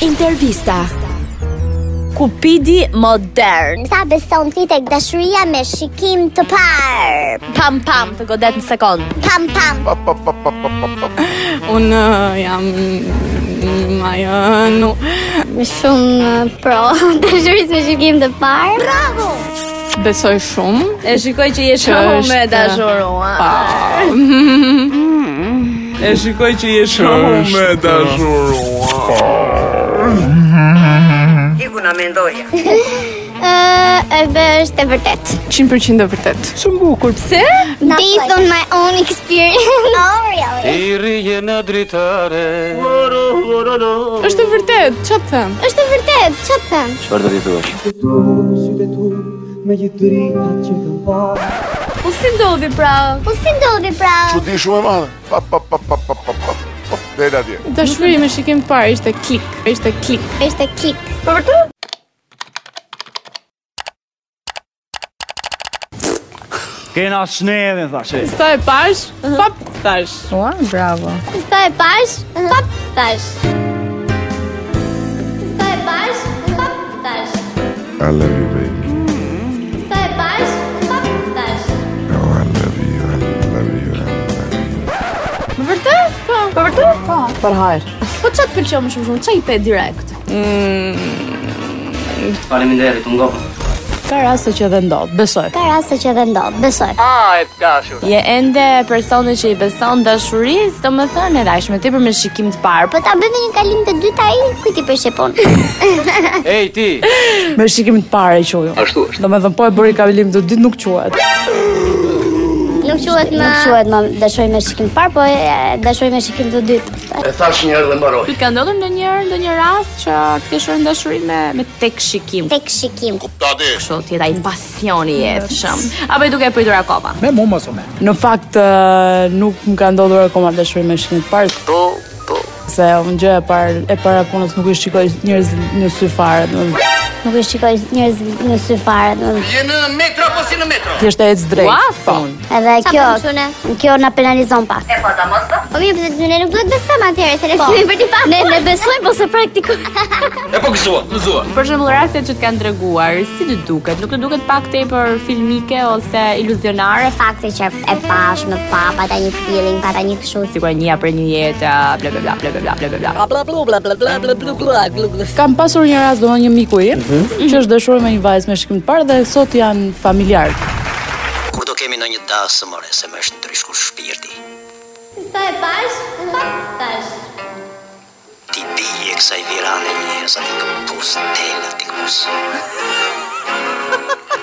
Intervista Kupidi modern Sa beson ti tek dashuria me shikim të parë? Pam pam të godet në sekund Pam pam. Unë eh, jam mm, ajo nu Shumë eh, pro dashurisë me shikim të parë. Bravo! besoj shumë. E shikoj që je Që shumë është- me dashurua Pa. E shikoj që je shumë me dashurua. Ë, edhe është e vërtet. 100% e vërtet. Shumë bukur. Based on my own experience. Oh, really? Është e vërtet, ç'a të them? është e vërtet, ç'a të them? Po si ndodhi pra? Po si ndodhi pra? Çudi shumë e madhe. Pa pa pa pa pa pa pa. pa, Deri atje. Dashuria me shikim të parë ishte klik, ishte klik. Është e klik. Kena sneve, thashe. Sa e pash, Mhm. pap thash. Po Sa e pash? Pap tash. Sa e pash? Pap tash. I love you baby. Sa e pash? Pap tash. Oh, I love you. I love you. I love you. Po që të pëlqeu më shumë shumë? Që i pe direkt? Faleminderit, u ngopëm. Ka raste që edhe ndodh, besoj. Ka raste që dhe ndodh, besoj. A, e të dashur. Je ende personi që i beson dashurisë, të më thënë e dashme ti për me shikim të parë. Po ta bëndë një kalim të dytë ai, kujt i përshepon? Ej ti. Me shikimin të parë e quju. Ashtu është. Domethënë po e bëri kalim të ditë nuk quhet. Nuk quhet më. Nuk quhet më dashoj me shikim të parë, po e, dashoj me shikim të dytë. E thash një herë dhe mbaroj. Ti ka ndodhur ndonjëherë ndonjë rast që të ke shëruar dashuri me me tek shikim? Tek shikim. Kështu ti ai pasioni i jetëshëm. Apo i duke pritur akoma? Me mu mos u me. Në fakt ë, nuk më ka ndodhur akoma dashuri me shikim të parë. Po, po. Se unë gjë e parë e para punës nuk i shikoj njerëz në sy fare, domethënë Nuk e shikoj njerëz në sy fare, domethënë. Je në metro apo si në metro? thjesht e ec drejt. Ua, fun. Edhe Qa kjo, bëjmë qune? kjo na penalizon pak. Po, Po mirë, pse ne nuk duhet besojmë atëherë, se ne kemi për të Ne ne besojmë po se praktikojmë. E po gëzua, gëzua. Për shembull rastet që të kanë treguar, si të duket? Nuk të duket pak tepër filmike ose iluzionare? Fakti që e pash me pa, pata një feeling, pata një kështu. Sigur një për një jetë, bla bla bla bla bla bla bla bla. Kam pasur një rast domethënë një miku im që është dashur me një vajzë me shikim të parë dhe sot janë familjar. Kur do kemi në një dasë, more, se më është ndryshku shpirti. Sa e pash? Pap tash. Ti bije kësaj virane njerëz, ati këpus, tela, ti këpus.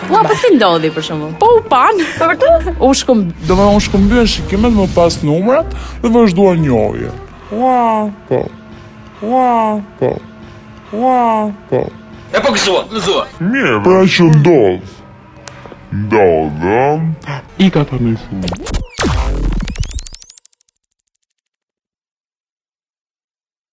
Ua, po si ndodhi për shembull? Po u pan. Po vërtet? U shkum Domethënë unë shkëm mbyen shikimet më pas numrat dhe vazhduar njohje. Ua. Po. Ua. Po. Ua. Po. E po gëzua, gëzua. Mirë. Pra që ndodh. Ndodh. I ka pa më shumë.